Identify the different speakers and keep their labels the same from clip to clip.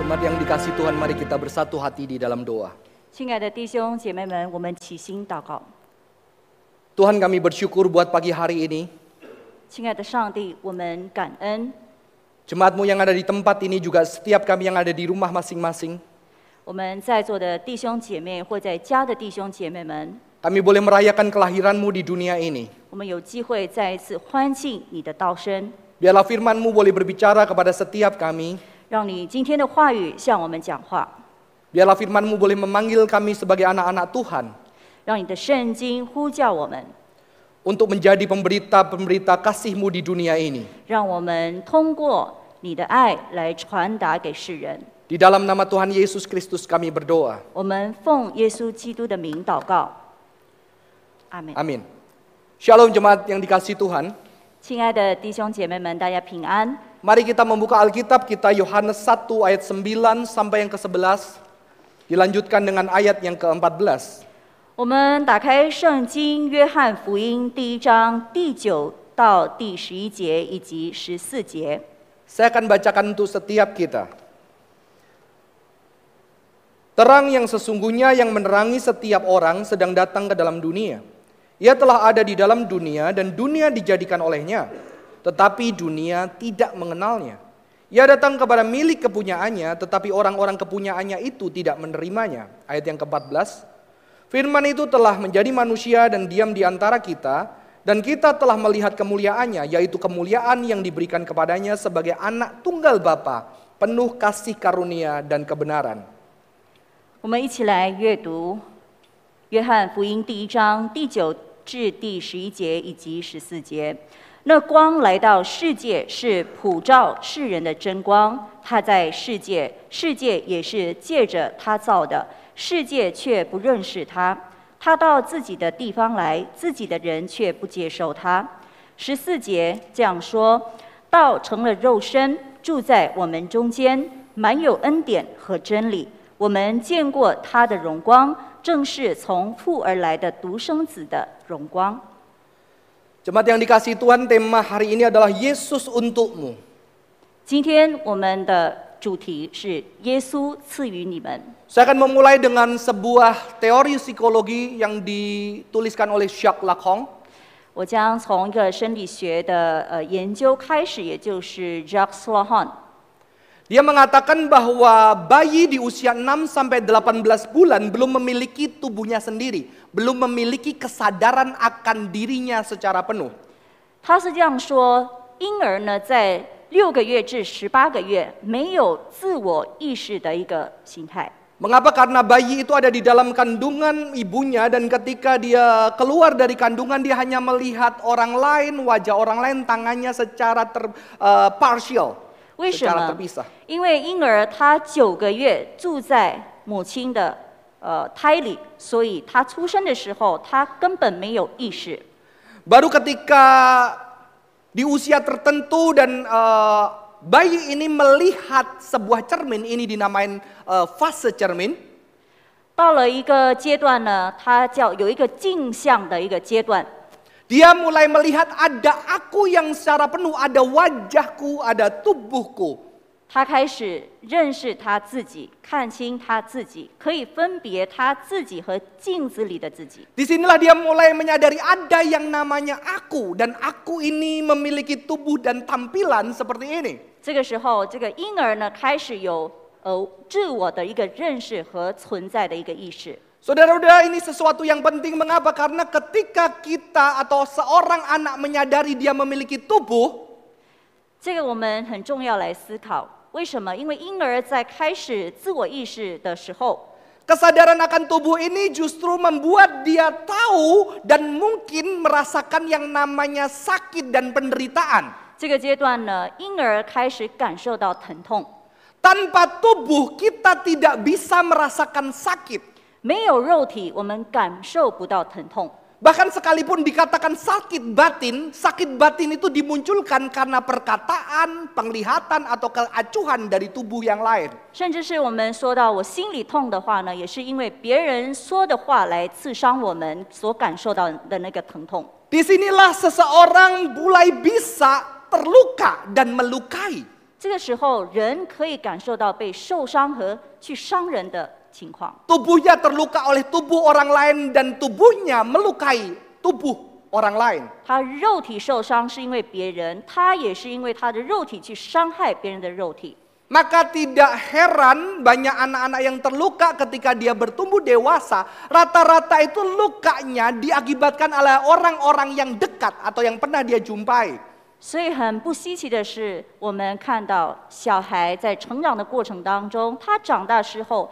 Speaker 1: Jemaat yang dikasih Tuhan, mari kita bersatu hati di dalam doa.
Speaker 2: 亲爱的弟兄姐妹们，我们起心祷告。
Speaker 1: Tuhan kami bersyukur buat pagi hari ini.
Speaker 2: 亲爱的上帝，我们感恩，
Speaker 1: Jemaatmu yang ada di tempat ini juga setiap kami yang ada di rumah masing-masing.
Speaker 2: 我们在座的弟兄姐妹或在家的弟兄姐妹们，
Speaker 1: Kami boleh merayakan kelahiranmu di dunia ini.
Speaker 2: 我们有机会再一次欢庆你的道声，
Speaker 1: Biarlah firmanmu boleh berbicara kepada setiap kami.
Speaker 2: 让你今天的话语向我们讲话，
Speaker 1: Biarlah firmanmu boleh memanggil kami sebagai anak-anak Tuhan.
Speaker 2: 让你的圣经呼叫我们，
Speaker 1: Untuk menjadi pemberita-pemberita kasihmu di dunia ini.
Speaker 2: 让我们通过你的爱来传达给世人。
Speaker 1: Di dalam nama Tuhan Yesus Kristus kami berdoa.
Speaker 2: 我们奉耶稣基督的名祷告，阿门。
Speaker 1: Amin. Shalom jemaat yang dikasih Tuhan.
Speaker 2: 亲爱的弟兄姐妹们，大家平安。
Speaker 1: Mari kita membuka Alkitab kita Yohanes 1 ayat 9 sampai yang ke-11. Dilanjutkan dengan ayat yang ke-14.
Speaker 2: 我们打开圣经《约翰福音》第一章第九到第十一节以及十四节。
Speaker 1: Saya akan bacakan untuk setiap kita. Terang yang sesungguhnya yang menerangi setiap orang sedang datang ke dalam dunia. Ia telah ada di dalam dunia dan dunia dijadikan olehnya, tetapi dunia tidak mengenalnya. Ia datang kepada milik kepunyaannya, tetapi orang-orang kepunyaannya itu tidak menerimanya. Ayat yang ke-14, Firman itu telah menjadi manusia dan diam di antara kita, dan kita telah melihat kemuliaannya, yaitu kemuliaan yang diberikan kepadanya sebagai anak tunggal Bapa, penuh kasih karunia dan kebenaran.
Speaker 2: 我们一起来阅读《约翰福音》第一章第九至第十一节以及十四节。那光来到世界，是普照世人的真光。他在世界，世界也是借着他造的，世界却不认识他。他到自己的地方来，自己的人却不接受他。十四节这样说：“道成了肉身，住在我们中间，满有恩典和真理。我们见过他的荣光，正是从父而来的独生子的荣光。
Speaker 1: Jemaat yang dikasih Tuhan, tema hari ini adalah Yesus untukmu. ”
Speaker 2: 今天我们的主题是耶稣赐予你们。
Speaker 1: Saya akan memulai dengan sebuah teori psikologi yang dituliskan oleh Jacques Lacan.
Speaker 2: 我将从一个生理学的呃研究开始，也就是 Jacques Lacan。
Speaker 1: Dia mengatakan bahwa bayi di usia 6 sampai 18 bulan belum memiliki tubuhnya sendiri, belum memiliki kesadaran akan dirinya secara penuh.
Speaker 2: 他是这样说：婴儿呢，在六个月至十八个月没有自我意识的一个形态。
Speaker 1: Mengapa? Karena bayi itu ada di dalam kandungan ibunya dan ketika dia keluar dari kandungan dia hanya melihat orang lain, wajah orang lain, tangannya secara ter, eh, partial,
Speaker 2: 为什
Speaker 1: secara
Speaker 2: 么？
Speaker 1: terpisah.
Speaker 2: 因为婴儿他九个月住在母亲的呃胎里，所以他出生的时候他根本没有意识。
Speaker 1: Baru ketika di usia tertentu dan eh, bayi ini melihat sebuah cermin, ini dinamain eh, fase cermin.
Speaker 2: 到了一个阶段呢，他叫有一个镜像的一个阶段，
Speaker 1: Dia mulai melihat ada aku yang secara penuh, ada wajahku, ada tubuhku.
Speaker 2: 他开始认识他自己，看清他自己，可以分别他自己和镜子里的自己。
Speaker 1: Disinilah dia mulai menyadari ada yang namanya aku dan aku ini memiliki tubuh dan tampilan seperti ini.
Speaker 2: 这个时候，这个婴儿呢开始有呃自我的一个认识和存在的一个意识。
Speaker 1: Saudara-saudara ini sesuatu yang penting mengapa? Karena ketika kita atau seorang anak menyadari dia memiliki tubuh,
Speaker 2: 这个我们很重要来思考，为什么？因为婴儿在开始自我意识的时候，
Speaker 1: Kesadaran akan tubuh ini justru membuat dia tahu dan mungkin merasakan yang namanya sakit dan penderitaan.
Speaker 2: 这个阶段呢，婴儿开始感受到疼痛，
Speaker 1: Tanpa tubuh kita tidak bisa merasakan sakit.
Speaker 2: 没有肉体，我们感受不到疼痛。
Speaker 1: Bahkan sekalipun dikatakan sakit batin, sakit batin itu dimunculkan karena perkataan, penglihatan atau keacuhan dari tubuh yang lain.
Speaker 2: 甚至是我们说到我心里痛的话呢，也是因为别人说的话来刺伤我们所感受到的那个疼痛。
Speaker 1: Disinilah seseorang mulai bisa terluka dan melukai.
Speaker 2: 这个时候，人可以感受到被受伤和去伤人的情况，
Speaker 1: Tubuhnya terluka oleh tubuh orang lain dan tubuhnya melukai tubuh orang lain.
Speaker 2: 他肉体受伤是因为别人，他也是因为他的肉体去伤害别人的肉体。
Speaker 1: Maka tidak heran banyak anak-anak yang terluka ketika dia bertumbuh dewasa, rata-rata itu lukanya diakibatkan oleh orang-orang yang dekat atau yang pernah dia jumpai.
Speaker 2: 所以很不稀奇的是，我们看到小孩在成长的过程当中，他长大之后，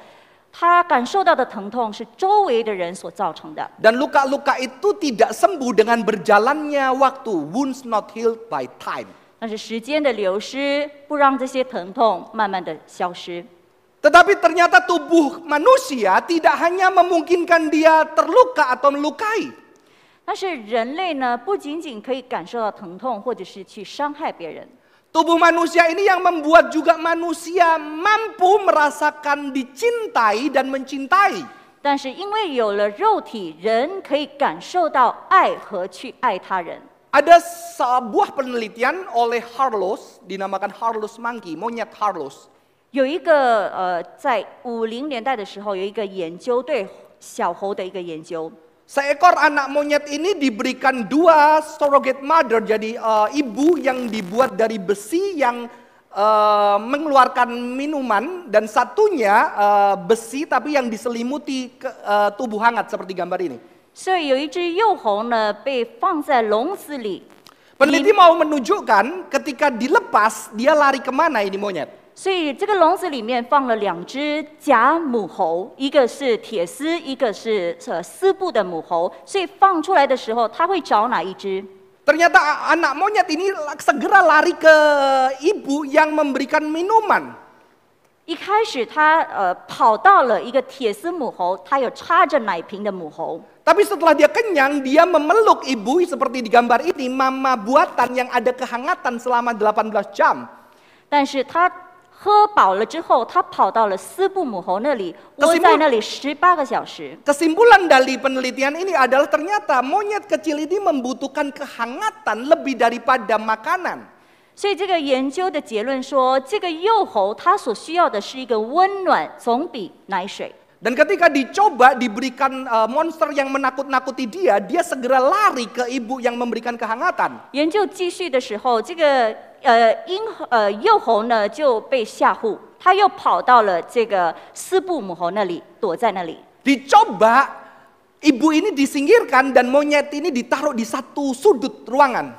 Speaker 2: 他感受到的疼痛是周围的人所造成的。
Speaker 1: Dan luka-luka itu tidak sembuh dengan berjalannya waktu. Wounds not healed by time.
Speaker 2: 但是时间的流失不让这些疼痛慢慢的消失。
Speaker 1: Tetapi ternyata tubuh manusia tidak hanya memungkinkan dia terluka atau melukai.
Speaker 2: 但是人类呢，不仅仅可以感受到疼痛，或者是去伤害别人，
Speaker 1: Tubuh manusia ini yang membuat juga manusia mampu merasakan dicintai dan mencintai.
Speaker 2: 但是因为有了肉体，人可以感受到爱和去爱他人。
Speaker 1: Ada sebuah penelitian oleh Harlows, dinamakan Harlows Monkey, monyet Harlows.
Speaker 2: 有一个呃，在五零年代的时候，有一个研究对小猴的一个研究，
Speaker 1: Seekor anak monyet ini diberikan dua surrogate mother, jadi eh, ibu yang dibuat dari besi yang eh, mengeluarkan minuman dan satunya eh, besi tapi yang diselimuti ke, eh, tubuh hangat seperti gambar ini.
Speaker 2: 所以有一只幼猴呢被放在笼子里，
Speaker 1: Peneliti mau menunjukkan ketika dilepas dia lari kemana ini monyet.
Speaker 2: 所以这个笼子里面放了两只假母猴，一个是铁丝，一个是呃丝布的母猴，所以放出来的时候，它会找哪一只？
Speaker 1: Ternyata a- anak monyet ini la- segera lari ke ibu yang memberikan minuman.
Speaker 2: 一开始它呃跑到了一个铁丝母猴，它有插着奶瓶的母猴，
Speaker 1: Tapi setelah dia kenyang, dia memeluk ibu seperti di gambar ini, mama buatan yang ada kehangatan selama 18 jam.
Speaker 2: 但是它喝饱了之后，它跑到了丝布母猴那里，
Speaker 1: 可
Speaker 2: 窝
Speaker 1: 是
Speaker 2: 在
Speaker 1: 木
Speaker 2: 那里十八个小时。
Speaker 1: Kesimpulan dari penelitian ini adalah ternyata monyet kecil ini membutuhkan kehangatan lebih daripada makanan.
Speaker 2: 所以这个研究的结论说，这个幼猴它所需要的是一个温暖，总比奶水。
Speaker 1: Dan ketika dicoba diberikan eh, monster yang menakut-nakuti dia, dia segera lari ke ibu yang memberikan kehangatan.
Speaker 2: 研究继续的时候，这个呃婴呃幼猴呢就被吓唬，它又跑到了这个斯布母猴那里，躲在那里。
Speaker 1: Dicoba ibu ini disingkirkan dan monyet ini ditaruh di satu sudut ruangan.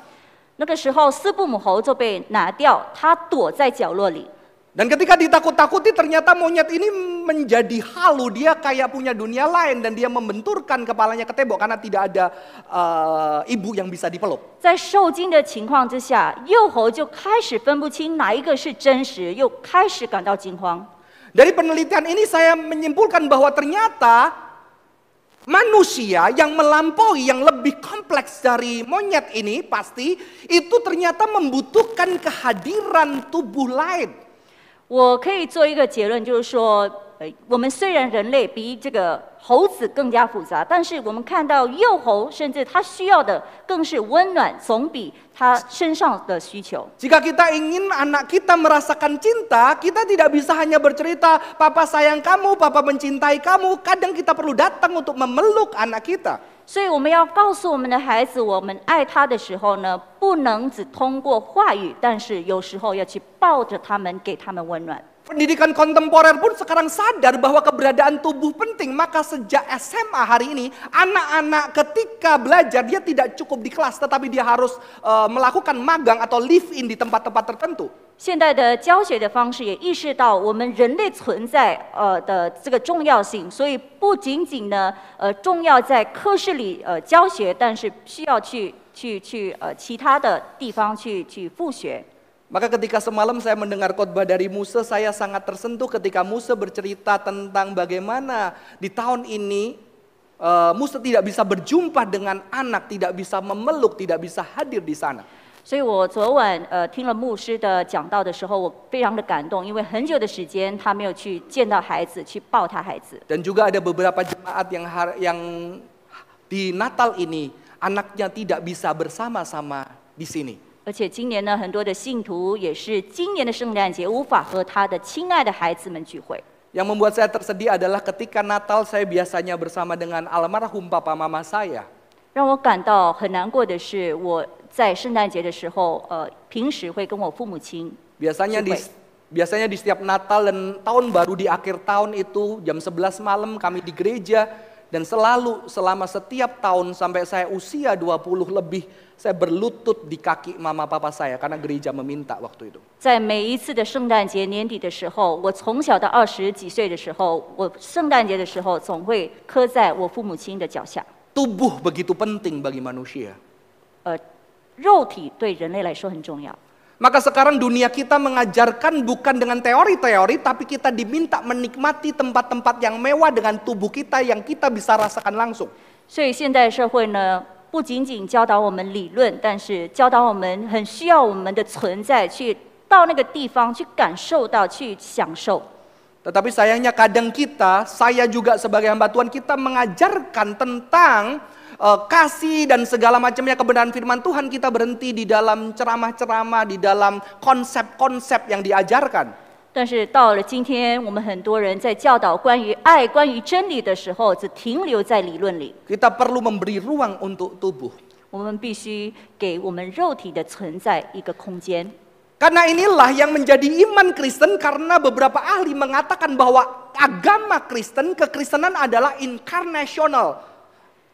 Speaker 2: 那个时候，斯布母猴就被拿掉，它躲在角落里。
Speaker 1: Dan ketika ditakut-takuti ternyata monyet ini menjadi halu, dia kayak punya dunia lain dan dia membenturkan kepalanya ke tembok karena tidak ada eh, ibu yang bisa dipeluk.
Speaker 2: 在受惊的情况之下，幼猴就开始分不清哪一个是真实，又开始感到惊慌。
Speaker 1: Dari penelitian ini saya menyimpulkan bahwa ternyata manusia yang melampaui yang lebih kompleks dari monyet ini pasti itu ternyata membutuhkan kehadiran tubuh lain.
Speaker 2: 我可以做一个结论，就是说，呃，我们虽然人类比这个猴子更加复杂，但是我们看到幼猴，甚至它需要的更是温暖，总比它身上的需求。
Speaker 1: Jika kita ingin anak kita merasakan cinta, kita tidak bisa hanya bercerita, "Papa sayang kamu, Papa mencintai kamu." Kadang kita perlu datang untuk memeluk anak kita.
Speaker 2: 所以我们要告诉我们的孩子，我们爱他的时候呢，不能只通过话语，但是有时候要去抱着他们，给他们温暖。
Speaker 1: Pendidikan kontemporer pun sekarang sadar bahwa keberadaan tubuh penting, maka sejak SMA hari ini, anak-anak ketika belajar dia tidak cukup di kelas, tetapi dia harus eh, melakukan magang atau live-in di tempat-tempat tertentu.
Speaker 2: 现代的教学的方式也意识到我们人类存在呃的这个重要性，所以不仅仅呢呃重要在课室里呃教学，但是需要去去去呃其他的地方去去复学。
Speaker 1: Maka ketika semalam saya mendengar khotbah dari Musa, saya sangat tersentuh ketika Musa bercerita tentang bagaimana di tahun ini eh, Musa tidak bisa berjumpa dengan anak, tidak bisa memeluk, tidak bisa hadir di sana.
Speaker 2: 所以我昨晚呃听了牧师的讲道的时候，我非常的感动，因为很久的时间他没有去见到孩子，去抱他孩子。
Speaker 1: Dan juga ada beberapa jemaat yang har- yang di Natal ini anaknya tidak bisa bersama-sama di sini.
Speaker 2: 而而且今年呢，很多的信徒也是今年的圣诞节无法和他的亲爱的孩子们聚会。
Speaker 1: Yang membuat saya tersedih adalah ketika Natal saya biasanya bersama dengan almarhum papa mama saya.
Speaker 2: 让我感到很难过的是，我在圣诞节的时候，呃，平时会跟我父母亲
Speaker 1: Biasanya di
Speaker 2: Supaya.
Speaker 1: biasanya di setiap Natal dan tahun baru di akhir tahun itu jam 11 malam kami di gereja dan selalu selama setiap tahun sampai saya usia 20 lebih saya berlutut di kaki mama papa saya karena gereja meminta waktu itu.
Speaker 2: 在每一次的圣诞节年底的时候，我从小到二十几岁的时候，我圣诞节的时候总会磕在我父母亲的脚下。
Speaker 1: Tubuh begitu penting bagi manusia.
Speaker 2: 呃，肉体对人类来说很重要，
Speaker 1: Maka sekarang dunia kita mengajarkan bukan dengan teori-teori tapi kita diminta menikmati tempat-tempat yang mewah dengan tubuh kita yang kita bisa rasakan langsung.
Speaker 2: 所以现代社会呢，不仅仅教导我们理论，但是教导我们很需要我们的存在，去到那个地方去感受到，去享受。
Speaker 1: Tetapi sayangnya kadang kita, saya juga sebagai hamba Tuhan kita mengajarkan tentang eh, kasih dan segala macamnya kebenaran firman Tuhan kita berhenti di dalam ceramah-ceramah, di dalam konsep-konsep yang diajarkan.
Speaker 2: 但是到了今天，我们很多人在教导关于爱、关于真理的时候，只停留在理论里。
Speaker 1: Kita perlu memberi ruang untuk tubuh.
Speaker 2: 我们必须给我们肉体的存在一个空间。
Speaker 1: Karena inilah yang menjadi iman Kristen karena beberapa ahli mengatakan bahwa agama Kristen, kekristenan adalah inkarnasional.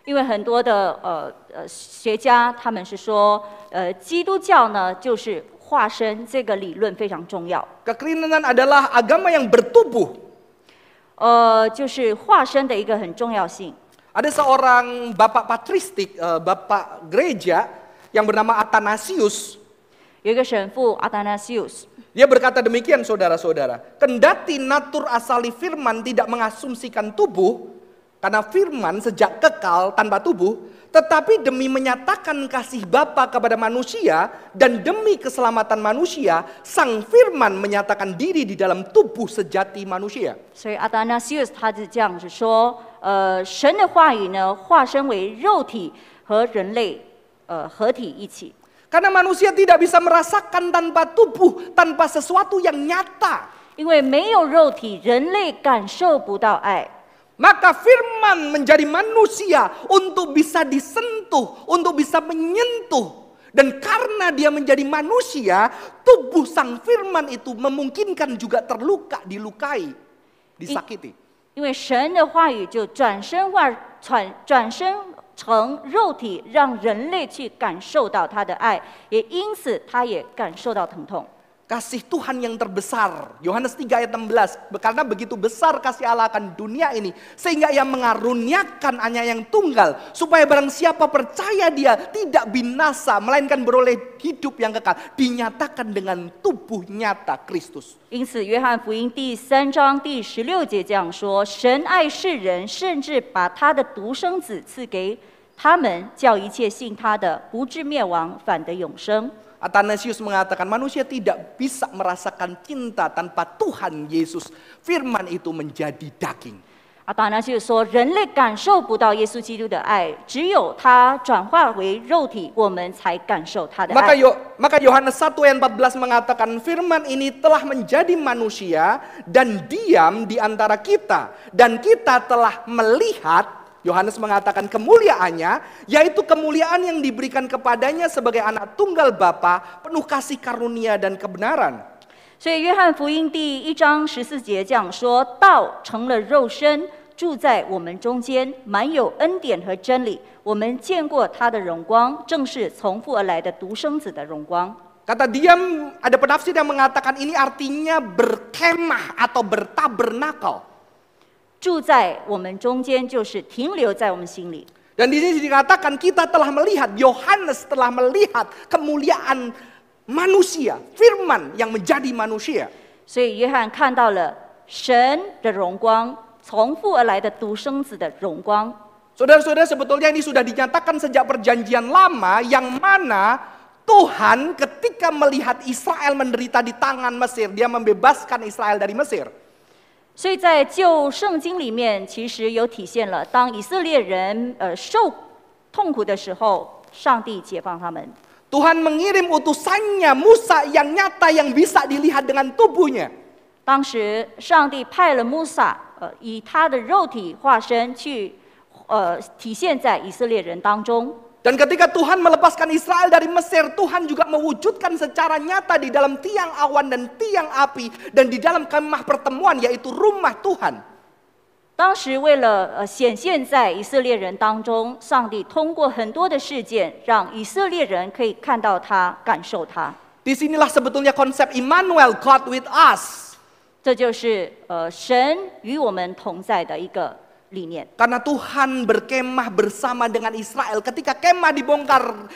Speaker 2: 因为很多的呃呃学家他们是说，呃，基督教呢就是化身这个理论非常重要，
Speaker 1: Kekristenan adalah agama yang bertubuh.
Speaker 2: 呃，就是化身的一个很重要性。
Speaker 1: Ada seorang bapak patristik, eh, bapak gereja yang bernama Athanasius.
Speaker 2: 有一个神父阿达纳西乌斯，
Speaker 1: Dia berkata demikian saudara-saudara. Kendati natur asali firman tidak mengasumsikan tubuh, karena firman sejak kekal tanpa tubuh, tetapi demi menyatakan kasih Bapa kepada manusia dan demi keselamatan manusia, sang firman menyatakan diri di dalam tubuh sejati manusia.
Speaker 2: 所以阿达纳西乌斯他是这样子说，呃，神的话语呢化身为肉体和人类呃合体一起，
Speaker 1: Karena manusia tidak bisa merasakan tanpa tubuh, tanpa sesuatu yang nyata.
Speaker 2: 因为没有肉体，人类感受不到爱。
Speaker 1: Maka firman menjadi manusia untuk bisa disentuh, untuk bisa menyentuh. Dan karena dia menjadi manusia, tubuh sang firman itu memungkinkan juga terluka, dilukai, disakiti.
Speaker 2: 因为神的话语就转身化转转身成肉体，让人类去感受到他的爱，也因此他也感受到疼痛。
Speaker 1: Kasih Tuhan yang terbesar. Yohanes 3 ayat 16. Karena begitu besar kasih Allah akan dunia ini. Sehingga ia mengaruniakan hanya yang tunggal. Supaya barang siapa percaya dia tidak binasa. Melainkan beroleh hidup yang kekal. Dinyatakan dengan tubuh nyata Kristus.
Speaker 2: 因此，《约翰福音》第三章第十六节这样说：“神爱世人，甚至把他的独生子赐给他们，叫一切信他的不至灭亡，反得永生。”
Speaker 1: Athanasius mengatakan manusia tidak bisa merasakan cinta tanpa Tuhan Yesus. Firman itu menjadi daging.
Speaker 2: 阿达纳啊就是说，人类感受不到耶稣基督的爱，只有他转化为肉体，我们才感受他的
Speaker 1: Maka
Speaker 2: 爱。
Speaker 1: Yo- maka Yohanes 1 ayat 14 mengatakan firman ini telah menjadi manusia dan diam di antara kita dan kita telah melihat Yohanes mengatakan kemuliaannya yaitu kemuliaan yang diberikan kepadanya sebagai anak tunggal Bapa penuh kasih karunia dan kebenaran.
Speaker 2: 所以，《约翰福音》第一章十四节这样说：“道成了肉身，住在我们中间，满有恩典和真理。我们见过他的荣光，正是从父而来的独生子的荣光。
Speaker 1: Kata diam ada penafsir yang mengatakan ini artinya berkemah atau bertabernakal.
Speaker 2: 住在我们中间，就是停留在我们心里。”
Speaker 1: Dan di sini dikatakan kita telah melihat, Yohanes telah melihat kemuliaan manusia, firman yang menjadi manusia.
Speaker 2: 所以约翰看到了神的荣光，从父而来的独生子的荣光。
Speaker 1: Saudara-saudara sebetulnya ini sudah dinyatakan sejak perjanjian lama yang mana Tuhan ketika melihat Israel menderita di tangan Mesir, dia membebaskan Israel dari Mesir.
Speaker 2: 所以在旧圣经里面，其实有体现了当以色列人呃受痛苦的时候，上帝解放他们。
Speaker 1: Tuhan mengirim utusannya Musa yang nyata yang bisa dilihat dengan tubuhnya.
Speaker 2: 当时上帝派了穆萨，呃，以他的肉体化身去，呃，体现在以色列人当中。
Speaker 1: Dan ketika Tuhan melepaskan Israel dari Mesir, Tuhan juga mewujudkan secara nyata di dalam tiang awan dan tiang api dan di dalam kemah pertemuan yaitu rumah Tuhan.
Speaker 2: 当时为了呃显现在以色列人当中，上帝通过很多的事件，让以色列人可以看到他、感受他。
Speaker 1: Disinilah sebetulnya konsep Immanuel, God with us.
Speaker 2: 这就是呃神与我们同在的一个理念。
Speaker 1: Karena Tuhan berkemah bersama dengan Israel. Ketika kemah dibongkar,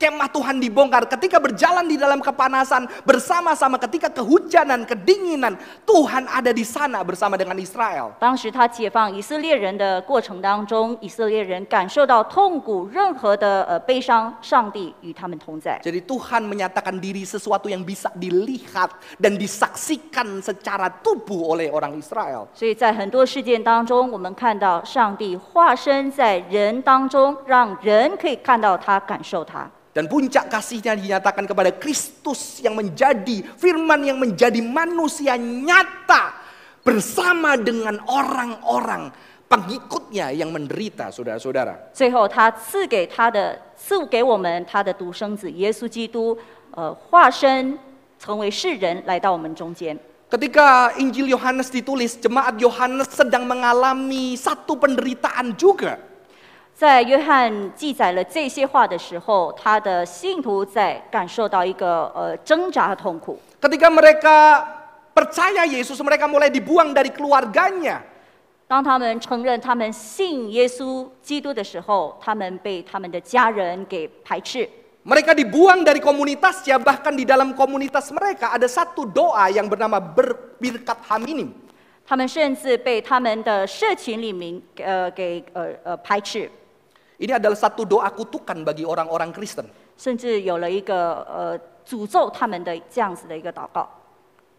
Speaker 1: kemah Tuhan dibongkar. Ketika berjalan di dalam kepanasan bersama-sama, ketika kehujanan, kedinginan, Tuhan ada di sana bersama dengan Israel.
Speaker 2: 当时他解放以色列人的过程当中，以色列人感受到痛苦，任何的呃悲伤，上帝与他们同在。
Speaker 1: Jadi Tuhan menyatakan diri sesuatu yang bisa dilihat dan disaksikan secara tubuh oleh orang Israel.
Speaker 2: 所以在很多事件当中，我们看到上帝化身在人当中，让人可以看到他、感受他。
Speaker 1: Dan puncak kasihnya dinyatakan kepada Kristus yang menjadi firman yang menjadi manusia nyata bersama dengan orang-orang pengikutnya yang menderita saudara-saudara.
Speaker 2: 最后，他赐给他的赐给我们他的独生子耶稣基督，呃，化身成为世人来到我们中间。
Speaker 1: Ketika Injil Yohanes ditulis, jemaat Yohanes sedang mengalami satu penderitaan juga.
Speaker 2: 在约翰记载了这些话的时候，他的信徒在感受到一个呃挣扎和痛苦。
Speaker 1: Ketika mereka percaya Yesus, mereka mulai dibuang dari keluarganya.
Speaker 2: 当他们承认他们信耶稣基督的时候，他们被他们的家人给排斥。
Speaker 1: Mereka dibuang dari komunitasnya, bahkan di dalam komunitas mereka ada satu doa yang bernama berbirkat haminim.
Speaker 2: 他们甚至被他们的社群里面呃给呃呃排斥，
Speaker 1: Ini adalah satu doa kutukan bagi orang-orang Kristen.
Speaker 2: 甚至有了一个呃诅咒他们的这样子的一个祷告。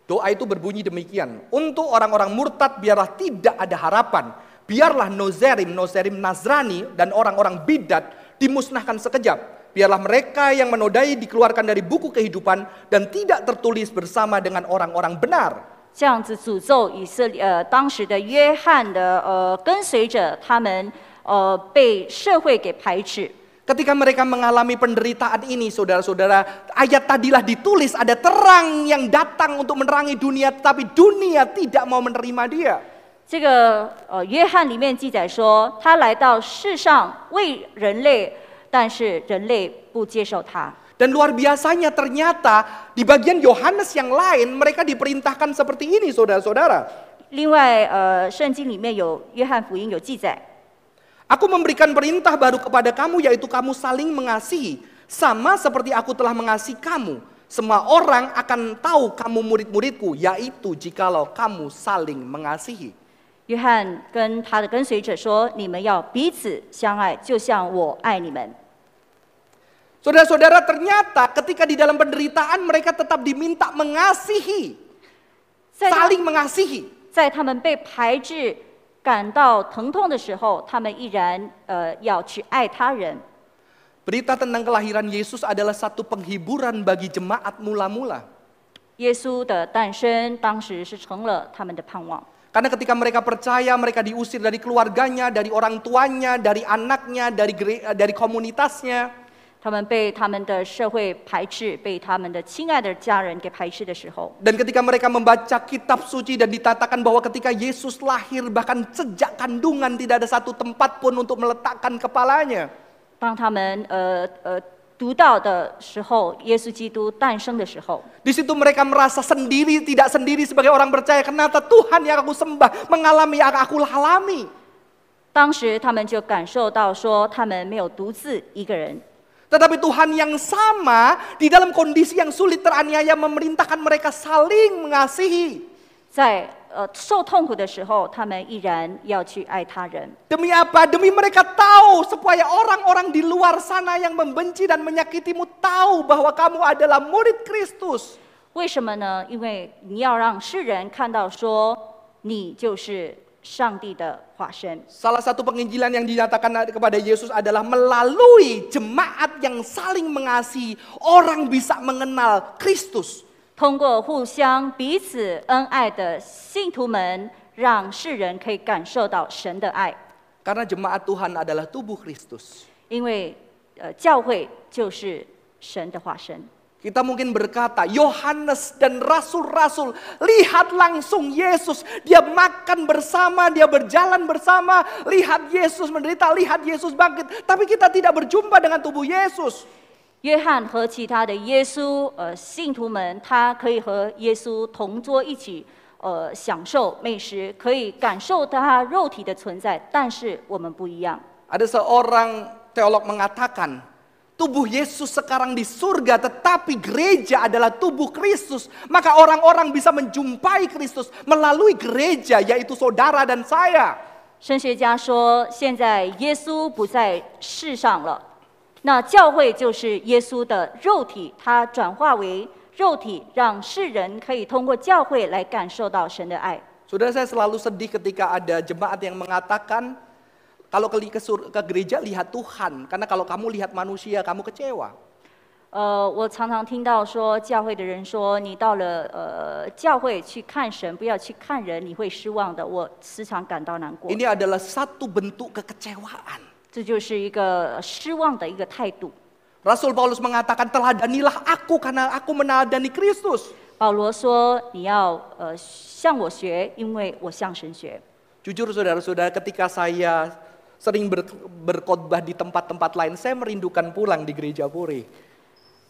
Speaker 1: Doa itu berbunyi demikian. Untuk orang-orang murtad biarlah tidak ada harapan. Biarlah nozerim, nozerim nazrani dan orang-orang bidat dimusnahkan sekejap. Biarlah mereka yang menodai dikeluarkan dari buku kehidupan dan tidak tertulis bersama dengan orang-orang benar.
Speaker 2: 这样子诅咒以色列呃当时的约翰的呃跟随者，他们呃被社会给排斥。
Speaker 1: Ketika mereka mengalami penderitaan ini, saudara-saudara, ayat tadilah ditulis ada terang yang datang untuk menerangi dunia, tetapi dunia tidak mau menerima dia.
Speaker 2: 这个呃约翰里面记载说，他来到世上为人类，但是人类不接受他。
Speaker 1: Dan luar biasanya ternyata di bagian Yohanes yang lain mereka diperintahkan seperti ini saudara-saudara.
Speaker 2: 另外呃圣经里面有约翰福音有记载，
Speaker 1: Aku memberikan perintah baru kepada kamu yaitu kamu saling mengasihi. Sama seperti aku telah mengasihi kamu. Semua orang akan tahu kamu murid-muridku yaitu jikalau kamu saling mengasihi.
Speaker 2: 约翰跟他的跟随者说：“你们要彼此相爱，就像我爱你们。
Speaker 1: Saudara-saudara ternyata ketika di dalam penderitaan mereka tetap diminta mengasihi. ”
Speaker 2: 在他
Speaker 1: Saling mengasihi.
Speaker 2: 在他们被排斥、感到疼痛的时候，他们依然呃要去爱他人。
Speaker 1: Berita tentang kelahiran Yesus adalah satu penghiburan bagi jemaat mula-mula.
Speaker 2: 耶稣的诞生当时是成了他们的盼望，
Speaker 1: Karena ketika mereka percaya, mereka diusir dari keluarganya, dari orang tuanya, dari anaknya, dari gere- eh, dari komunitasnya.
Speaker 2: 他们被他们的社会排斥，被他们的亲爱的家人给排斥的时候，
Speaker 1: Dan ketika mereka membaca kitab suci dan ditatakan bahwa ketika Yesus lahir bahkan sejak kandungan tidak ada satu tempat pun untuk meletakkan kepalanya.
Speaker 2: 当他们呃呃读到的时候，耶稣基督诞生的时候，
Speaker 1: Di situ mereka merasa sendiri, tidak sendiri sebagai orang percaya. Kenapa Tuhan yang aku sembah mengalami yang aku alami.
Speaker 2: 当时他们就感受到说，他们没有独自一个人，
Speaker 1: Tetapi Tuhan yang sama di dalam kondisi yang sulit teraniaya memerintahkan mereka saling mengasihi.
Speaker 2: 在呃受痛苦的时候，他们依然要去爱他人。
Speaker 1: Demi apa? Demi mereka tahu supaya orang-orang di luar sana yang membenci dan menyakitimu tahu bahwa kamu adalah murid Kristus.
Speaker 2: 为什么呢？因为你要让世人看到说，你就是上帝的化身。
Speaker 1: Salah satu penginjilan yang dinyatakan kepada Yesus adalah melalui jemaat yang saling mengasihi, orang bisa mengenal Kristus.
Speaker 2: 通过互相彼此恩爱的信徒们，让世人可以感受到神的爱，
Speaker 1: Karena jemaat Tuhan adalah tubuh Kristus.
Speaker 2: 因为呃，教会就是神的化身。
Speaker 1: Kita mungkin berkata, Yohanes dan rasul-rasul, lihat langsung Yesus. Dia makan bersama, dia berjalan bersama, lihat Yesus menderita, lihat Yesus bangkit. Tapi kita tidak berjumpa dengan tubuh Yesus.
Speaker 2: 约翰和其他的耶稣呃信徒们，他可以和耶稣同桌一起呃享受美食，可以感受他肉体的存在，但是我们不一样。
Speaker 1: Ada seorang teolog mengatakan, tubuh Yesus sekarang di surga tetapi gereja adalah tubuh Kristus. Maka orang-orang bisa menjumpai Kristus melalui gereja yaitu saudara dan saya.
Speaker 2: 神学家说，现在耶稣不在世上了，那教会就是耶稣的肉体，它转化为肉体，让世人可以通过教会来感受到神的爱。
Speaker 1: Saudara saya selalu sedih ketika ada jemaat yang mengatakan kalau ke, ke sur- ke gereja lihat Tuhan, karena kalau kamu lihat manusia kamu kecewa.
Speaker 2: 呃，我常常听到说，教会的人说，你到了呃教会去看神，不要去看人，你会失望的。我时常感到难过，
Speaker 1: Ini adalah satu bentuk kekecewaan.
Speaker 2: 这就是一个呃失望的一个态度。
Speaker 1: Rasul Paulus mengatakan teladanilah aku karena aku meneladani Kristus.
Speaker 2: 保罗说，你要呃向我学，因为我向神学。
Speaker 1: Jujur saudara-saudara ketika saya sering ber- berkhotbah di tempat-tempat lain, saya merindukan pulang di gereja Puri.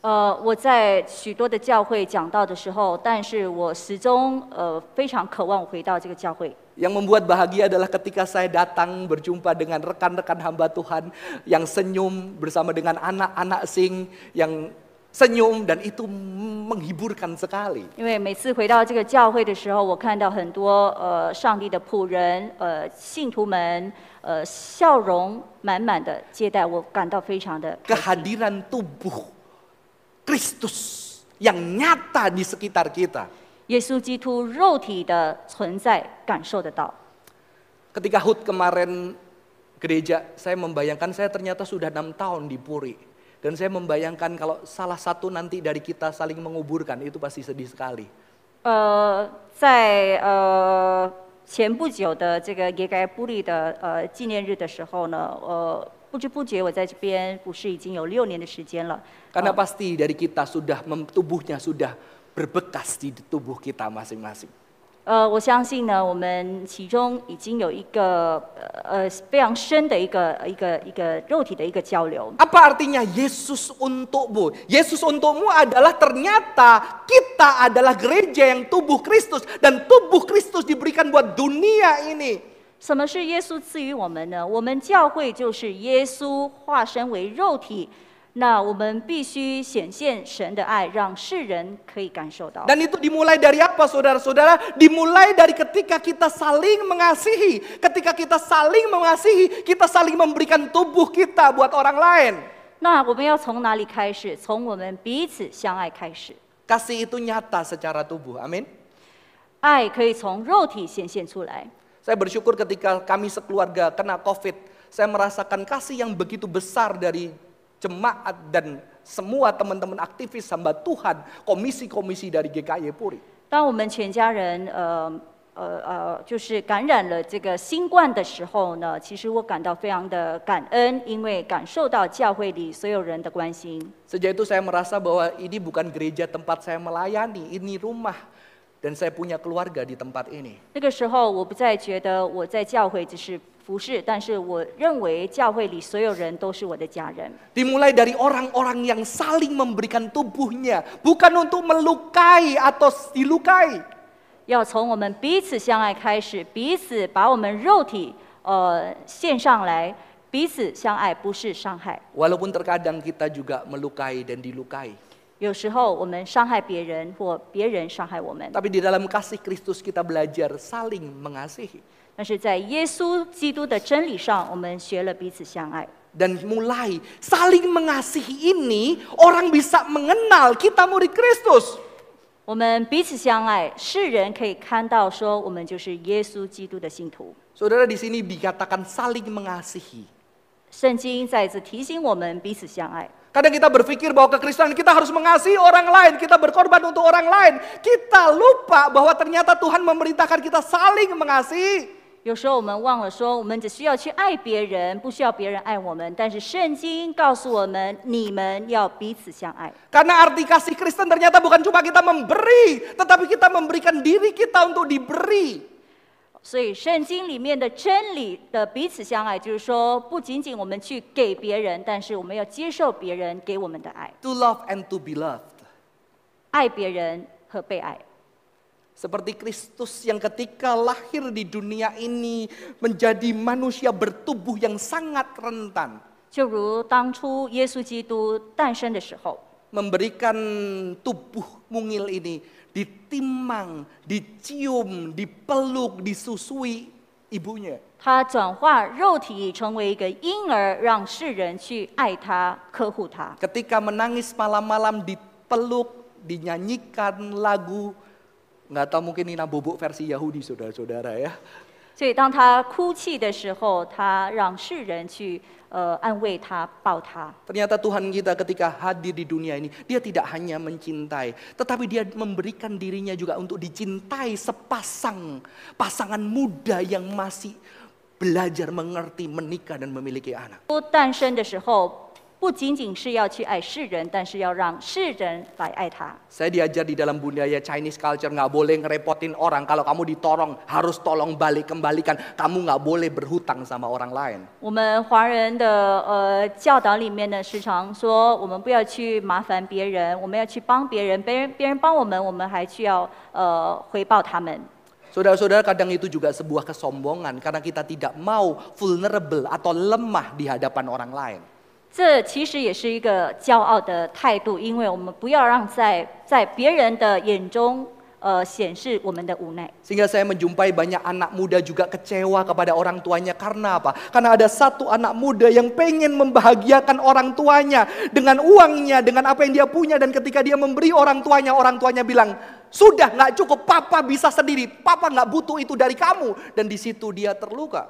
Speaker 2: 呃，我在许多的教会讲到的时候，但是我始终呃非常渴望回到这个教会。
Speaker 1: Yang membuat bahagia adalah ketika saya datang berjumpa dengan rekan-rekan hamba Tuhan yang senyum bersama dengan anak-anak sing yang senyum dan itu menghiburkan sekali.
Speaker 2: 因为每次回到这个教会的时候，我看到很多呃上帝的仆人、呃信徒们，呃笑容满满的接待我，感到非常的开心。
Speaker 1: Kehadiran tubuh Kristus yang nyata di sekitar kita.
Speaker 2: 耶稣基督肉体的存在感受得到。
Speaker 1: Ketika HUT kemarin gereja, saya membayangkan saya ternyata sudah enam tahun di Puri. Dan saya membayangkan kalau salah satu nanti dari kita saling menguburkan, itu pasti sedih sekali.
Speaker 2: 呃，在呃前不久的这个耶该布利的呃纪念日的时候呢，呃，不知不觉我在这边不是已经有六年的时间了。
Speaker 1: Karena pasti dari kita sudah, mem- tubuhnya sudah berbekas di tubuh kita masing-masing.
Speaker 2: 呃，我相信呢，我们其中已经有一个呃呃非常深的一个一个一个肉体的一个交流。
Speaker 1: Apa artinya Yesus untukmu? Yesus untukmu adalah ternyata kita adalah gereja yang tubuh Kristus. Dan tubuh Kristus diberikan buat dunia ini.
Speaker 2: 什么是耶稣赐予我们呢？我们教会就是耶稣化身为肉体，那我们必须显现神的爱，让世人可以感受到。
Speaker 1: Dan itu dimulai dari apa saudara-saudara? Dimulai dari ketika kita saling mengasihi. Ketika kita saling mengasihi, kita saling memberikan tubuh kita buat orang lain.
Speaker 2: 那我们要从哪里开始？从我们彼此相爱开始。
Speaker 1: Kasih itu nyata secara tubuh, amin.
Speaker 2: 爱可以从肉体显现出来。
Speaker 1: Saya bersyukur ketika kami sekeluarga kena covid, saya merasakan kasih yang begitu besar dari jemaat dan semua teman-teman aktivis hamba Tuhan, komisi-komisi dari GKY Puri.
Speaker 2: 当我们全家人呃呃呃，就是感染了这个新冠的时候呢，其实我感到非常的感恩，因为感受到教会里所有人的关心。
Speaker 1: Sejak itu saya merasa bahwa ini bukan gereja tempat saya melayani, ini rumah dan saya punya keluarga di tempat ini.
Speaker 2: 那个时候，我不再觉得我在教会只是服侍，但是我认为教会里所有人都是我的家人。
Speaker 1: Dimulai dari orang-orang yang saling memberikan tubuhnya, bukan untuk melukai atau dilukai.
Speaker 2: 要从我们彼此相爱开始，彼此把我们肉体呃献上来，彼此相爱不是伤害。
Speaker 1: Walaupun terkadang kita juga melukai dan dilukai.
Speaker 2: 有时候我们伤害别人，或别人伤害我们，
Speaker 1: Tapi di dalam kasih Kristus kita belajar saling mengasihi.
Speaker 2: 但是在耶稣基督的真理上，我们学了彼此相爱。
Speaker 1: Dan mulai saling mengasihi ini orang bisa mengenal kita murid Kristus.
Speaker 2: 我们彼此相爱，世人可以看到说我们就是耶稣基督的信徒。
Speaker 1: Saudara di sini dikatakan saling mengasihi.
Speaker 2: 圣经再一次提醒我们彼此相爱。
Speaker 1: Kadang kita berpikir bahwa kekristenan kita harus mengasihi orang lain, kita berkorban untuk orang lain. Kita lupa bahwa ternyata Tuhan memerintahkan kita saling mengasihi.
Speaker 2: 有时候我们忘了说，我们只需要去爱别人，不需要别人爱我们。但是圣经告诉我们，你们要彼此相爱。
Speaker 1: Karena arti kasih Kristen ternyata bukan cuma kita memberi, tetapi kita memberikan diri kita untuk diberi.
Speaker 2: 所以圣经里面的真理的彼此相爱，就是说，不仅仅我们去给别人，但是我们要接受别人给我们的爱，
Speaker 1: To love and to be loved.
Speaker 2: 爱别人和被爱。
Speaker 1: Seperti Kristus yang ketika lahir di dunia ini menjadi manusia bertubuh yang sangat rentan.
Speaker 2: 就如当初耶稣基督诞生的时候，
Speaker 1: Memberikan tubuh mungil ini ditimang, dicium, dipeluk, disusui ibunya.
Speaker 2: 他转化肉体成为一个婴儿，让世人去爱他、呵护他。
Speaker 1: Ketika menangis malam-malam dipeluk, dinyanyikan lagu. Nggak tahu mungkin Nina Bobok versi Yahudi saudara-saudara ya.
Speaker 2: 所以当他哭泣的时候，他让世人去呃安慰他、抱他。
Speaker 1: Ternyata Tuhan kita ketika hadir di dunia ini, dia tidak hanya mencintai, tetapi dia memberikan dirinya juga untuk dicintai sepasang pasangan muda yang masih belajar mengerti, menikah dan memiliki anak.
Speaker 2: 基督诞生的时候，不仅仅是要去爱世人，但是要让世人来爱他。
Speaker 1: Saya diajar di dalam budaya Chinese culture nggak boleh ngerepotin orang. Kalau kamu ditorong harus tolong balik kembalikan. Kamu nggak boleh berhutang sama orang lain.
Speaker 2: 我们华人的呃教导里面呢，时常说我们不要去麻烦别人，我们要去帮别人，别人别人帮我们，我们还需要呃回报他们。
Speaker 1: Saudara-saudara kadang itu juga sebuah kesombongan karena kita tidak mau vulnerable atau lemah di hadapan orang lain.
Speaker 2: 这其实也是一个骄傲的态度，因为我们不要让在在别人的眼中呃显示我们的无奈。
Speaker 1: Sehingga saya menjumpai banyak anak muda juga kecewa kepada orang tuanya karena apa? Karena ada satu anak muda yang pengen membahagiakan orang tuanya dengan uangnya, dengan apa yang dia punya dan ketika dia memberi orang tuanya, orang tuanya bilang, "Sudah nggak cukup, papa bisa sendiri. Papa nggak butuh itu dari kamu." Dan di situ dia terluka.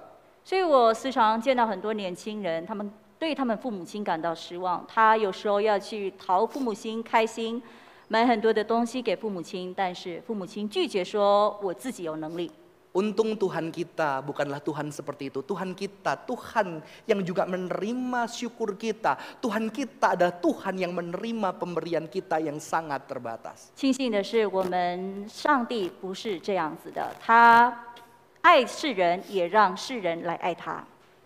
Speaker 2: 所以我时常见到很多年轻人，他们对他们父母亲感到失望，他有时候要去讨父母亲开心，买很多的东西给父母亲，但是父母亲拒绝说我自己有能力。
Speaker 1: Untung Tuhan kita bukanlah Tuhan seperti itu. Tuhan kita, Tuhan yang juga menerima syukur kita. Tuhan kita adalah Tuhan yang menerima pemberian kita yang sangat terbatas.
Speaker 2: 庆幸的是，我们上帝不是这样子的，他爱世人，也让世人来爱他。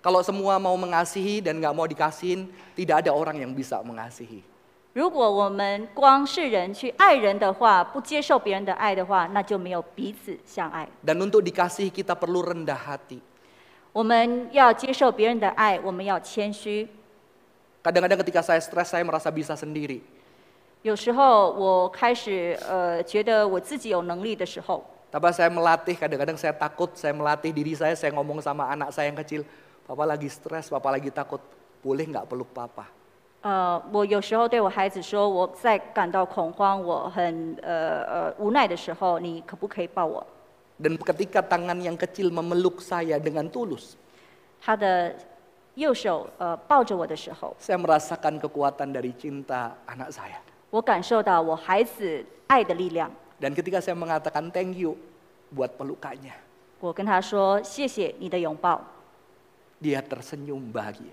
Speaker 1: Kalau semua mau mengasihi dan nggak mau dikasihin, tidak ada orang yang bisa mengasihi.
Speaker 2: 如果我们光是人去爱人的话，不接受别人的爱的话，那就没有彼此相爱。
Speaker 1: Dan untuk dikasihi kita perlu rendah hati.
Speaker 2: 我们要接受别人的爱，我们要谦虚。
Speaker 1: Kadang-kadang ketika saya stres, saya merasa bisa sendiri.
Speaker 2: 有时候我开始呃觉得我自己有能力的时候，
Speaker 1: Tapi saya melatih, kadang-kadang saya takut, saya melatih diri saya, saya ngomong sama anak saya yang kecil, papa lagi stres, papa lagi takut, boleh nggak peluk papa?
Speaker 2: 呃，我有时候对我孩子说，我在感到恐慌，我很呃呃无奈的时候，你可不可以抱我？
Speaker 1: Dan ketika tangan yang kecil memeluk saya dengan tulus,
Speaker 2: 他的右手呃抱着我的时候，
Speaker 1: saya merasakan kekuatan dari cinta anak saya.
Speaker 2: 我感受到我孩子爱的力量。
Speaker 1: Dan ketika saya mengatakan thank you buat pelukannya,
Speaker 2: 我跟他说谢谢你的拥抱，
Speaker 1: dia tersenyum bahagia.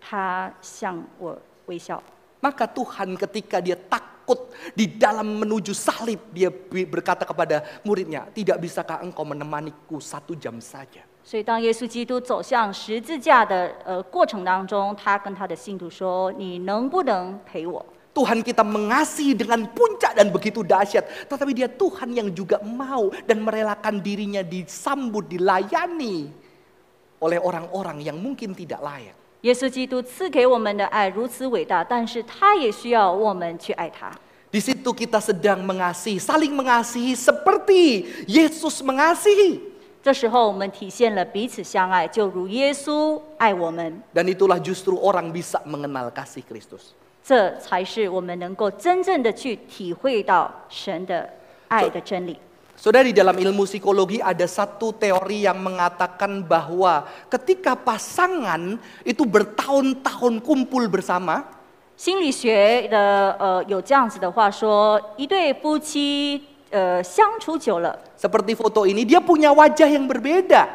Speaker 2: 他向我微笑。
Speaker 1: Maka Tuhan ketika dia takut di dalam menuju salib, dia bi- berkata kepada muridnya, tidak bisakah engkau menemaniku satu jam saja.
Speaker 2: 所以，当耶稣基督走向十字架的呃过程当中，他跟他的信徒说：“你能不能陪我？”
Speaker 1: Tuhan kita mengasihi dengan puncak dan begitu dahsyat. Tetapi dia Tuhan yang juga mau dan merelakan dirinya disambut, dilayani oleh orang-orang yang mungkin tidak layak.
Speaker 2: 耶稣基督赐给我们的爱如此伟大，但是他也需要我们去爱他。
Speaker 1: Di situ kita sedang mengasihi, saling mengasihi seperti Yesus mengasihi.
Speaker 2: 这时候，我们体现了彼此相爱，就如耶稣爱我们。
Speaker 1: Dan itulah justru orang bisa mengenal kasih Kristus.
Speaker 2: 这才是我们能够真正的去体会到神的爱的真理。
Speaker 1: Saudara di dalam ilmu psikologi ada satu teori yang mengatakan bahwa ketika pasangan itu bertahun-tahun kumpul bersama,
Speaker 2: 心理学的呃有这样子的话说，一对夫妻呃相处久了，
Speaker 1: seperti foto ini dia punya wajah yang berbeda.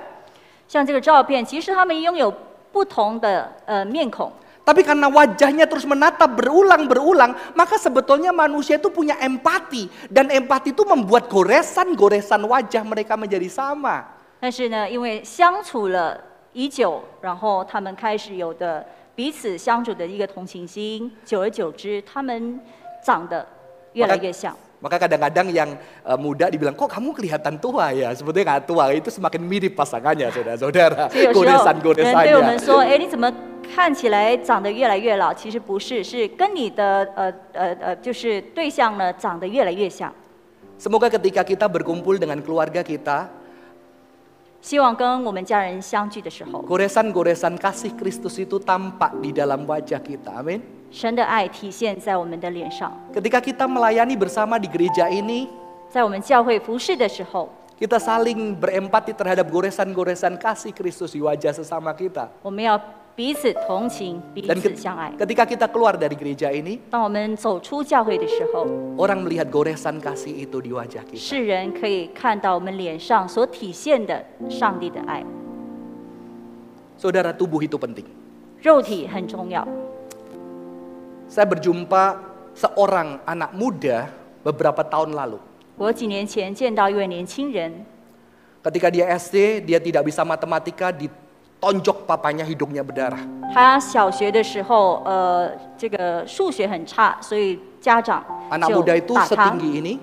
Speaker 2: 像这个照片，其实他们拥有不同的呃面孔，
Speaker 1: Tapi karena wajahnya terus menatap berulang-berulang, maka sebetulnya manusia itu punya empati dan empati itu membuat goresan-goresan wajah mereka menjadi sama.
Speaker 2: 但是呢，因为相处了已久，然后他们开始有的彼此相处的一个同情心，久而久之，他们长得越来越像。
Speaker 1: Maka kadang-kadang yang eh, muda dibilang, kok kamu kelihatan tua ya? Sebetulnya nggak tua, itu semakin mirip pasangannya saudara-saudara.
Speaker 2: 所以有时候人对我
Speaker 1: Goresan-goresannya.
Speaker 2: 们说：“哎，你怎么看起来长得越来越老？”其实不是，是跟你的呃呃呃，就是对象呢长得越来越像。
Speaker 1: Semoga ketika kita berkumpul dengan keluarga kita,
Speaker 2: 希望跟我们家人相聚的时候，
Speaker 1: goresan-goresan kasih Kristus itu tampak di dalam wajah kita. Amin.
Speaker 2: 神的爱体现在我们的脸上，
Speaker 1: Ketika kita melayani bersama di gereja ini,
Speaker 2: 在我们教会服侍的时候，
Speaker 1: Kita saling berempati terhadap goresan-goresan kasih Kristus di wajah sesama kita.
Speaker 2: 我们要彼此同情，彼
Speaker 1: Dan ke-
Speaker 2: 此相爱。
Speaker 1: ketika kita keluar dari gereja ini,
Speaker 2: 当我们走出教会的时候，
Speaker 1: orang melihat goresan kasih itu di wajah kita.
Speaker 2: 世人可以看到我们脸上所体现的上帝的爱。
Speaker 1: Saudara, tubuh itu penting.
Speaker 2: 肉体很重要。
Speaker 1: Saya berjumpa seorang anak muda beberapa tahun lalu.
Speaker 2: 我几年前见到一位年轻人，
Speaker 1: Ketika dia SD, dia tidak bisa matematika, ditonjok papanya hidungnya berdarah.
Speaker 2: 他小学的时候，呃，这个数学很差，所以家长
Speaker 1: Anak
Speaker 2: 就
Speaker 1: muda itu
Speaker 2: 打他。
Speaker 1: setinggi ini.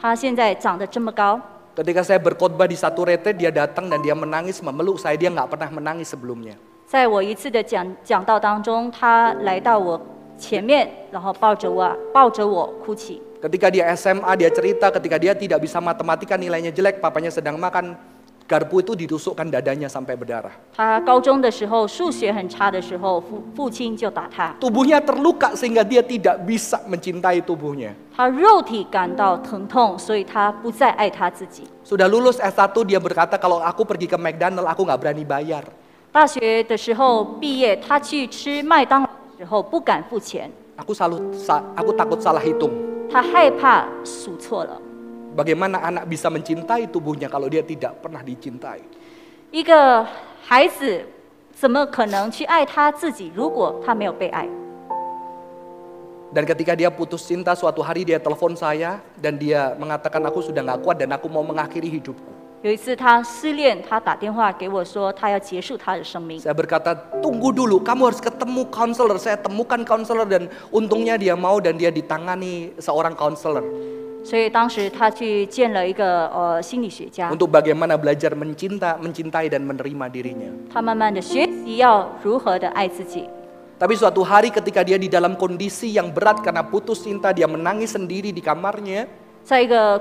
Speaker 2: 他现在长得这么高，
Speaker 1: Ketika saya berkhotbah di satu rete, dia datang dan dia menangis memeluk saya. Dia nggak pernah menangis sebelumnya.
Speaker 2: 在我一次的讲讲道当中，他来到我前面，然后抱着我，抱着我哭泣。
Speaker 1: Ketika dia SMA dia cerita ketika dia tidak bisa matematika nilainya jelek, papanya sedang makan garpu itu ditusukkan dadanya sampai berdarah.
Speaker 2: 他高中的时候数学很差的时候，父父亲就打他，
Speaker 1: Tubuhnya terluka sehingga dia tidak bisa mencintai tubuhnya.
Speaker 2: 他肉体感到疼痛，所以他不再爱他自己。
Speaker 1: Sudah lulus S1 dia berkata kalau aku pergi ke McDonald aku nggak berani bayar.
Speaker 2: 大学的时候毕业，他去吃麦当劳的时候不敢付钱，
Speaker 1: Aku salut, sa- aku takut salah hitung.
Speaker 2: 他害怕数错了。
Speaker 1: Bagaimana anak bisa mencintai tubuhnya kalau dia tidak pernah dicintai?
Speaker 2: 一个孩子怎么可能去爱他自己？如果他没有被爱，
Speaker 1: Dan ketika dia putus cinta suatu hari dia telepon saya dan dia mengatakan aku sudah nggak kuat dan aku mau mengakhiri hidupku.
Speaker 2: 有一次他失恋，他打电话给我说他要结束他的生命。
Speaker 1: Saya berkata, tunggu dulu, kamu harus ketemu counselor. Saya temukan counselor dan untungnya dia mau dan dia ditangani seorang counselor
Speaker 2: 所以当时他去见了一个呃心理学家，
Speaker 1: untuk bagaimana belajar mencinta, mencintai dan menerima dirinya.
Speaker 2: 他慢慢的学习要如何的爱自己。
Speaker 1: Tapi suatu hari ketika dia di dalam kondisi yang berat karena putus cinta, dia menangis sendiri di kamarnya.
Speaker 2: 在一个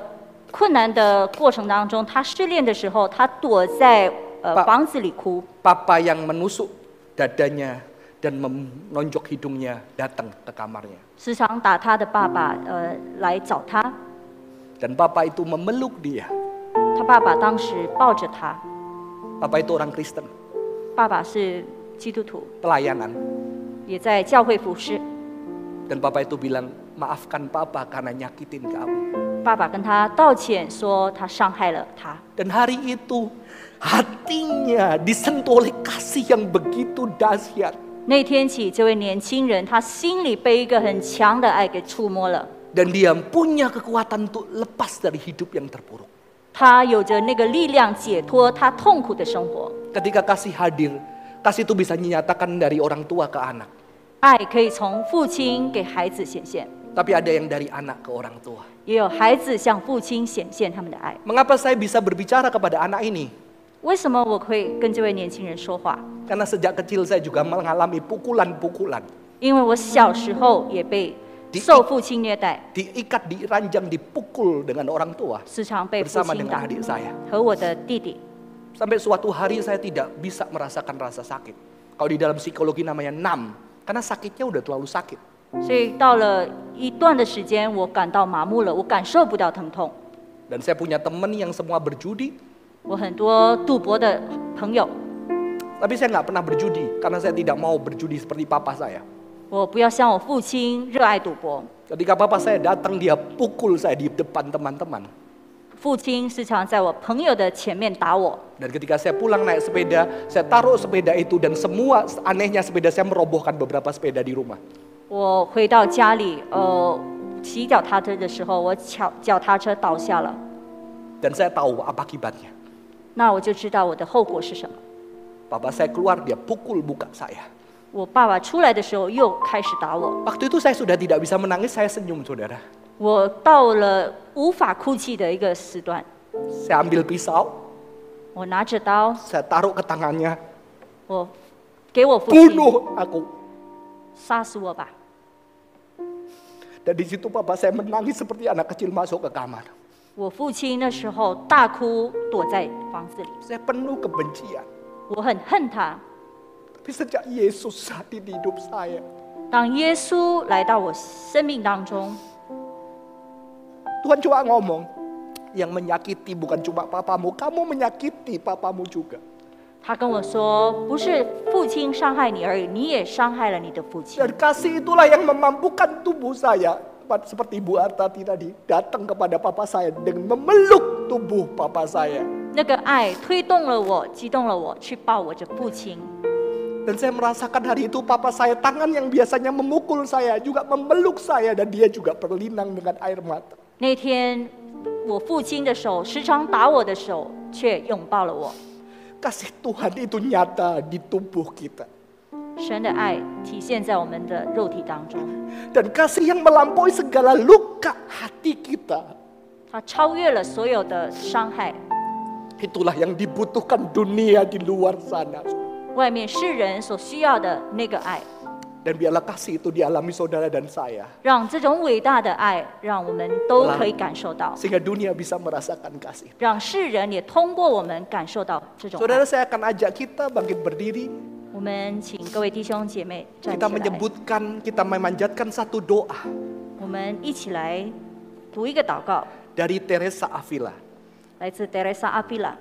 Speaker 2: 困难的过程当中，他失恋的时候，他躲在呃
Speaker 1: 爸
Speaker 2: 房子里哭。
Speaker 1: Papa yang menusuk dadanya dan menonjok hidungnya datang ke kamarnya.
Speaker 2: 时常打他的爸爸，呃，来找他。
Speaker 1: Dan papa itu memeluk dia.
Speaker 2: 他爸爸当时抱着他，
Speaker 1: Papa itu orang Kristen,
Speaker 2: 爸爸是基督徒，
Speaker 1: pelayanan.
Speaker 2: 也在教会服侍。
Speaker 1: Dan papa itu bilang, maafkan papa karena nyakitin kamu.
Speaker 2: 爸爸跟他道歉，说他伤害了他。
Speaker 1: Dan hari itu hatinya disentuh oleh kasih yang begitu dahsyat.
Speaker 2: 那天起，这位年轻人他心里被一个很强的爱给触摸了，
Speaker 1: Dan dia punya kekuatan untuk lepas dari hidup yang terpuruk.
Speaker 2: 他有着那个力量解脱他痛苦的生活。
Speaker 1: Ketika kasih hadir, kasih itu bisa dinyatakan dari orang tua ke anak.
Speaker 2: 爱可以从父亲给孩子显现，
Speaker 1: Tapi ada yang dari anak ke orang tua.
Speaker 2: 也有孩子向父亲显现他们的爱。
Speaker 1: Mengapa saya bisa berbicara kepada anak ini?
Speaker 2: 为什么我会跟这位年轻人说话？
Speaker 1: Karena sejak kecil saya juga mengalami pukulan-pukulan.
Speaker 2: 因为我小时候也被受父亲虐待，
Speaker 1: Diikat, diranjang, dipukul dengan orang tua.
Speaker 2: 时常被父
Speaker 1: Bersama
Speaker 2: 亲
Speaker 1: dengan
Speaker 2: 打，
Speaker 1: adik saya.
Speaker 2: 和我的弟弟。
Speaker 1: Sampai suatu hari saya tidak bisa merasakan rasa sakit. Kalau di dalam psikologi namanya numb, karena sakitnya udah terlalu sakit.
Speaker 2: 所以到了一段的时间，我感到麻木了，我感受不到疼痛。
Speaker 1: Dan saya punya teman yang semua berjudi,
Speaker 2: 我很多赌博的朋友，
Speaker 1: tapi saya nggak pernah berjudi karena saya tidak mau berjudi seperti papa saya.
Speaker 2: 我不要像我父亲热爱赌博。
Speaker 1: Ketika papa saya datang, dia pukul saya di depan teman-teman.
Speaker 2: 父亲时常在我朋友的前面打我，
Speaker 1: Dan ketika saya pulang naik sepeda, saya taruh sepeda itu dan semua anehnya sepeda saya merobohkan beberapa sepeda di rumah.
Speaker 2: 我回到家里，呃，骑脚踏车的时候，我脚脚踏车倒下了，
Speaker 1: Dan saya tahu apa akibatnya.
Speaker 2: 那我就知道我的后果是什么。
Speaker 1: Papa saya keluar, dia pukul buka saya.
Speaker 2: 我爸爸出来的时候又开始打我，
Speaker 1: Waktu itu saya sudah tidak bisa menangis, saya senyum saudara.
Speaker 2: 我到了无法哭泣的一个时段，
Speaker 1: Saya ambil pisau,
Speaker 2: 我拿着刀，
Speaker 1: saya taruh ke tangannya,
Speaker 2: 我给我父亲
Speaker 1: bunuh aku.
Speaker 2: 杀死我吧。
Speaker 1: Dan di situ papa saya menangis seperti anak kecil masuk ke kamar.
Speaker 2: 我父亲那时候大哭，躲在房子里，
Speaker 1: Saya penuh kebencian.
Speaker 2: 我很恨他。
Speaker 1: Tapi sejak Yesus hadir di hidup saya,
Speaker 2: 当耶稣来到我生命当中，
Speaker 1: Tuhan cuma ngomong, yang menyakiti bukan cuma papamu, kamu menyakiti papamu juga.
Speaker 2: 他跟我说：“不是父亲伤害你而已，你也伤害了你的父亲。
Speaker 1: Dan kasih itulah yang memampukan tubuh saya Tepat seperti Ibu Arta tadi datang kepada papa saya dengan memeluk tubuh papa saya. ”
Speaker 2: 那个爱推动了我，激动了我，去抱我的父亲。
Speaker 1: Dan saya merasakan hari itu papa saya tangan yang biasanya memukul saya juga memeluk saya dan dia juga berlinang dengan air mata.
Speaker 2: 那天，我父亲的手时常打我的手，却拥抱了我。
Speaker 1: Kasih Tuhan itu nyata di tubuh kita.
Speaker 2: 神的爱体现在我们的肉体当中，
Speaker 1: Dan kasih yang melampaui segala luka hati kita.
Speaker 2: 它超越了所有的伤害。
Speaker 1: Itulah yang dibutuhkan dunia di luar sana.
Speaker 2: 外面世人所需要的那个爱，
Speaker 1: Dan biarlah kasih itu dialami saudara dan saya.
Speaker 2: 让这种伟大的爱，让我们都可以感受到，
Speaker 1: Sehingga dunia bisa merasakan kasih.
Speaker 2: 让世人也通过我们感受到这种爱
Speaker 1: Saudara。saya akan ajak kita bangkit berdiri.
Speaker 2: 我们请各位弟兄姐妹站
Speaker 1: Kita
Speaker 2: 起来，
Speaker 1: menyebutkan, kita memanjatkan satu doa
Speaker 2: 我们一起来读一个祷告，
Speaker 1: dari Teresa Avila.
Speaker 2: 来自 Teresa a p i l a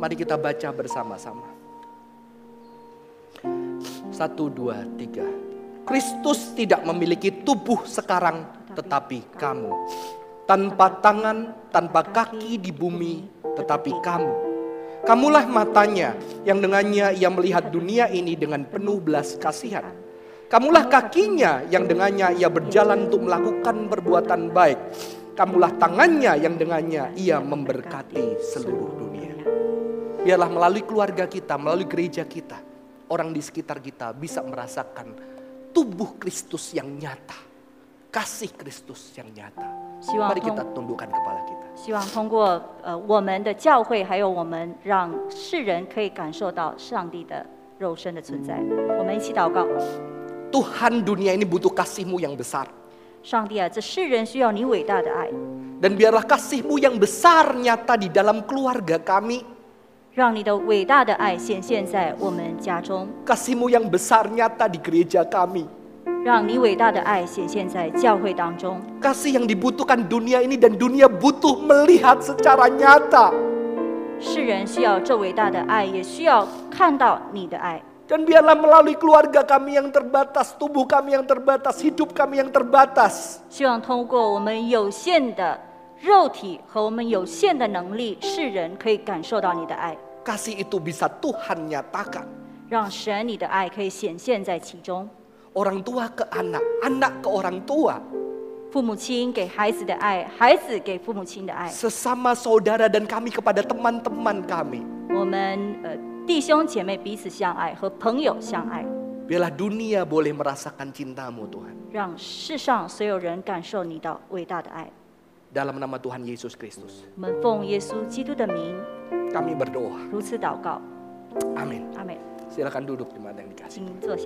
Speaker 1: Mari kita baca bersama-sama. Satu, dua, tiga. Kristus tidak memiliki tubuh sekarang, tetapi kamu. Tanpa tangan, tanpa kaki di bumi, tetapi kamu. Kamulah matanya yang dengannya ia melihat dunia ini dengan penuh belas kasihan. Kamulah kakinya yang dengannya ia berjalan untuk melakukan perbuatan baik. Kamulah tangannya yang dengannya ia memberkati seluruh dunia. Biarlah melalui keluarga kita, melalui gereja kita, orang di sekitar kita bisa merasakan tubuh Kristus yang nyata, kasih Kristus yang nyata.
Speaker 2: Siwa,
Speaker 1: Mari
Speaker 2: Om.
Speaker 1: kita tundukkan kepala kita.
Speaker 2: 希望通过呃我们的教会，还有我们，让世人可以感受到上帝的肉身的存在。我们一起祷告，
Speaker 1: Tuhan dunia ini butuh kasihmu yang besar.
Speaker 2: 上帝啊，这世人需要你伟大的爱，
Speaker 1: Dan biarlah kasihmu yang besar nyata di dalam keluarga kami.
Speaker 2: 让你的伟大的爱显现在我们家中，
Speaker 1: Kasihmu yang besar nyata di gereja kami.
Speaker 2: 让你伟大的爱显现在教会当中。
Speaker 1: Kasih yang dibutuhkan dunia ini dan dunia butuh melihat secara nyata.
Speaker 2: 世人需要这伟大的爱，也需要看到你的爱。
Speaker 1: Dan biarlah melalui keluarga kami yang terbatas, tubuh kami yang terbatas, hidup kami yang terbatas.
Speaker 2: 希望通过我们有限的肉体和我们有限的能力，世人可以感受到你的爱，
Speaker 1: Kasih itu bisa Tuhan nyatakan.
Speaker 2: 让神你的爱可以显现在其中。
Speaker 1: Orang tua ke anak, anak ke orang tua.
Speaker 2: 父母亲给孩子的爱，孩子给父母亲的爱，
Speaker 1: Sesama saudara dan kami kepada teman-teman kami.
Speaker 2: 我们呃弟兄姐妹彼此相爱，和朋友相爱，
Speaker 1: Biarlah dunia boleh merasakan cintamu Tuhan.
Speaker 2: 让世上所有人感受你的伟大的爱。
Speaker 1: Dalam nama Tuhan Yesus Kristus.
Speaker 2: 我们奉耶稣基督的名
Speaker 1: Kami berdoa.
Speaker 2: 如此祷告，
Speaker 1: Amin.
Speaker 2: 阿门。
Speaker 1: Silakan duduk di mana yang dikasih.
Speaker 2: 请坐下。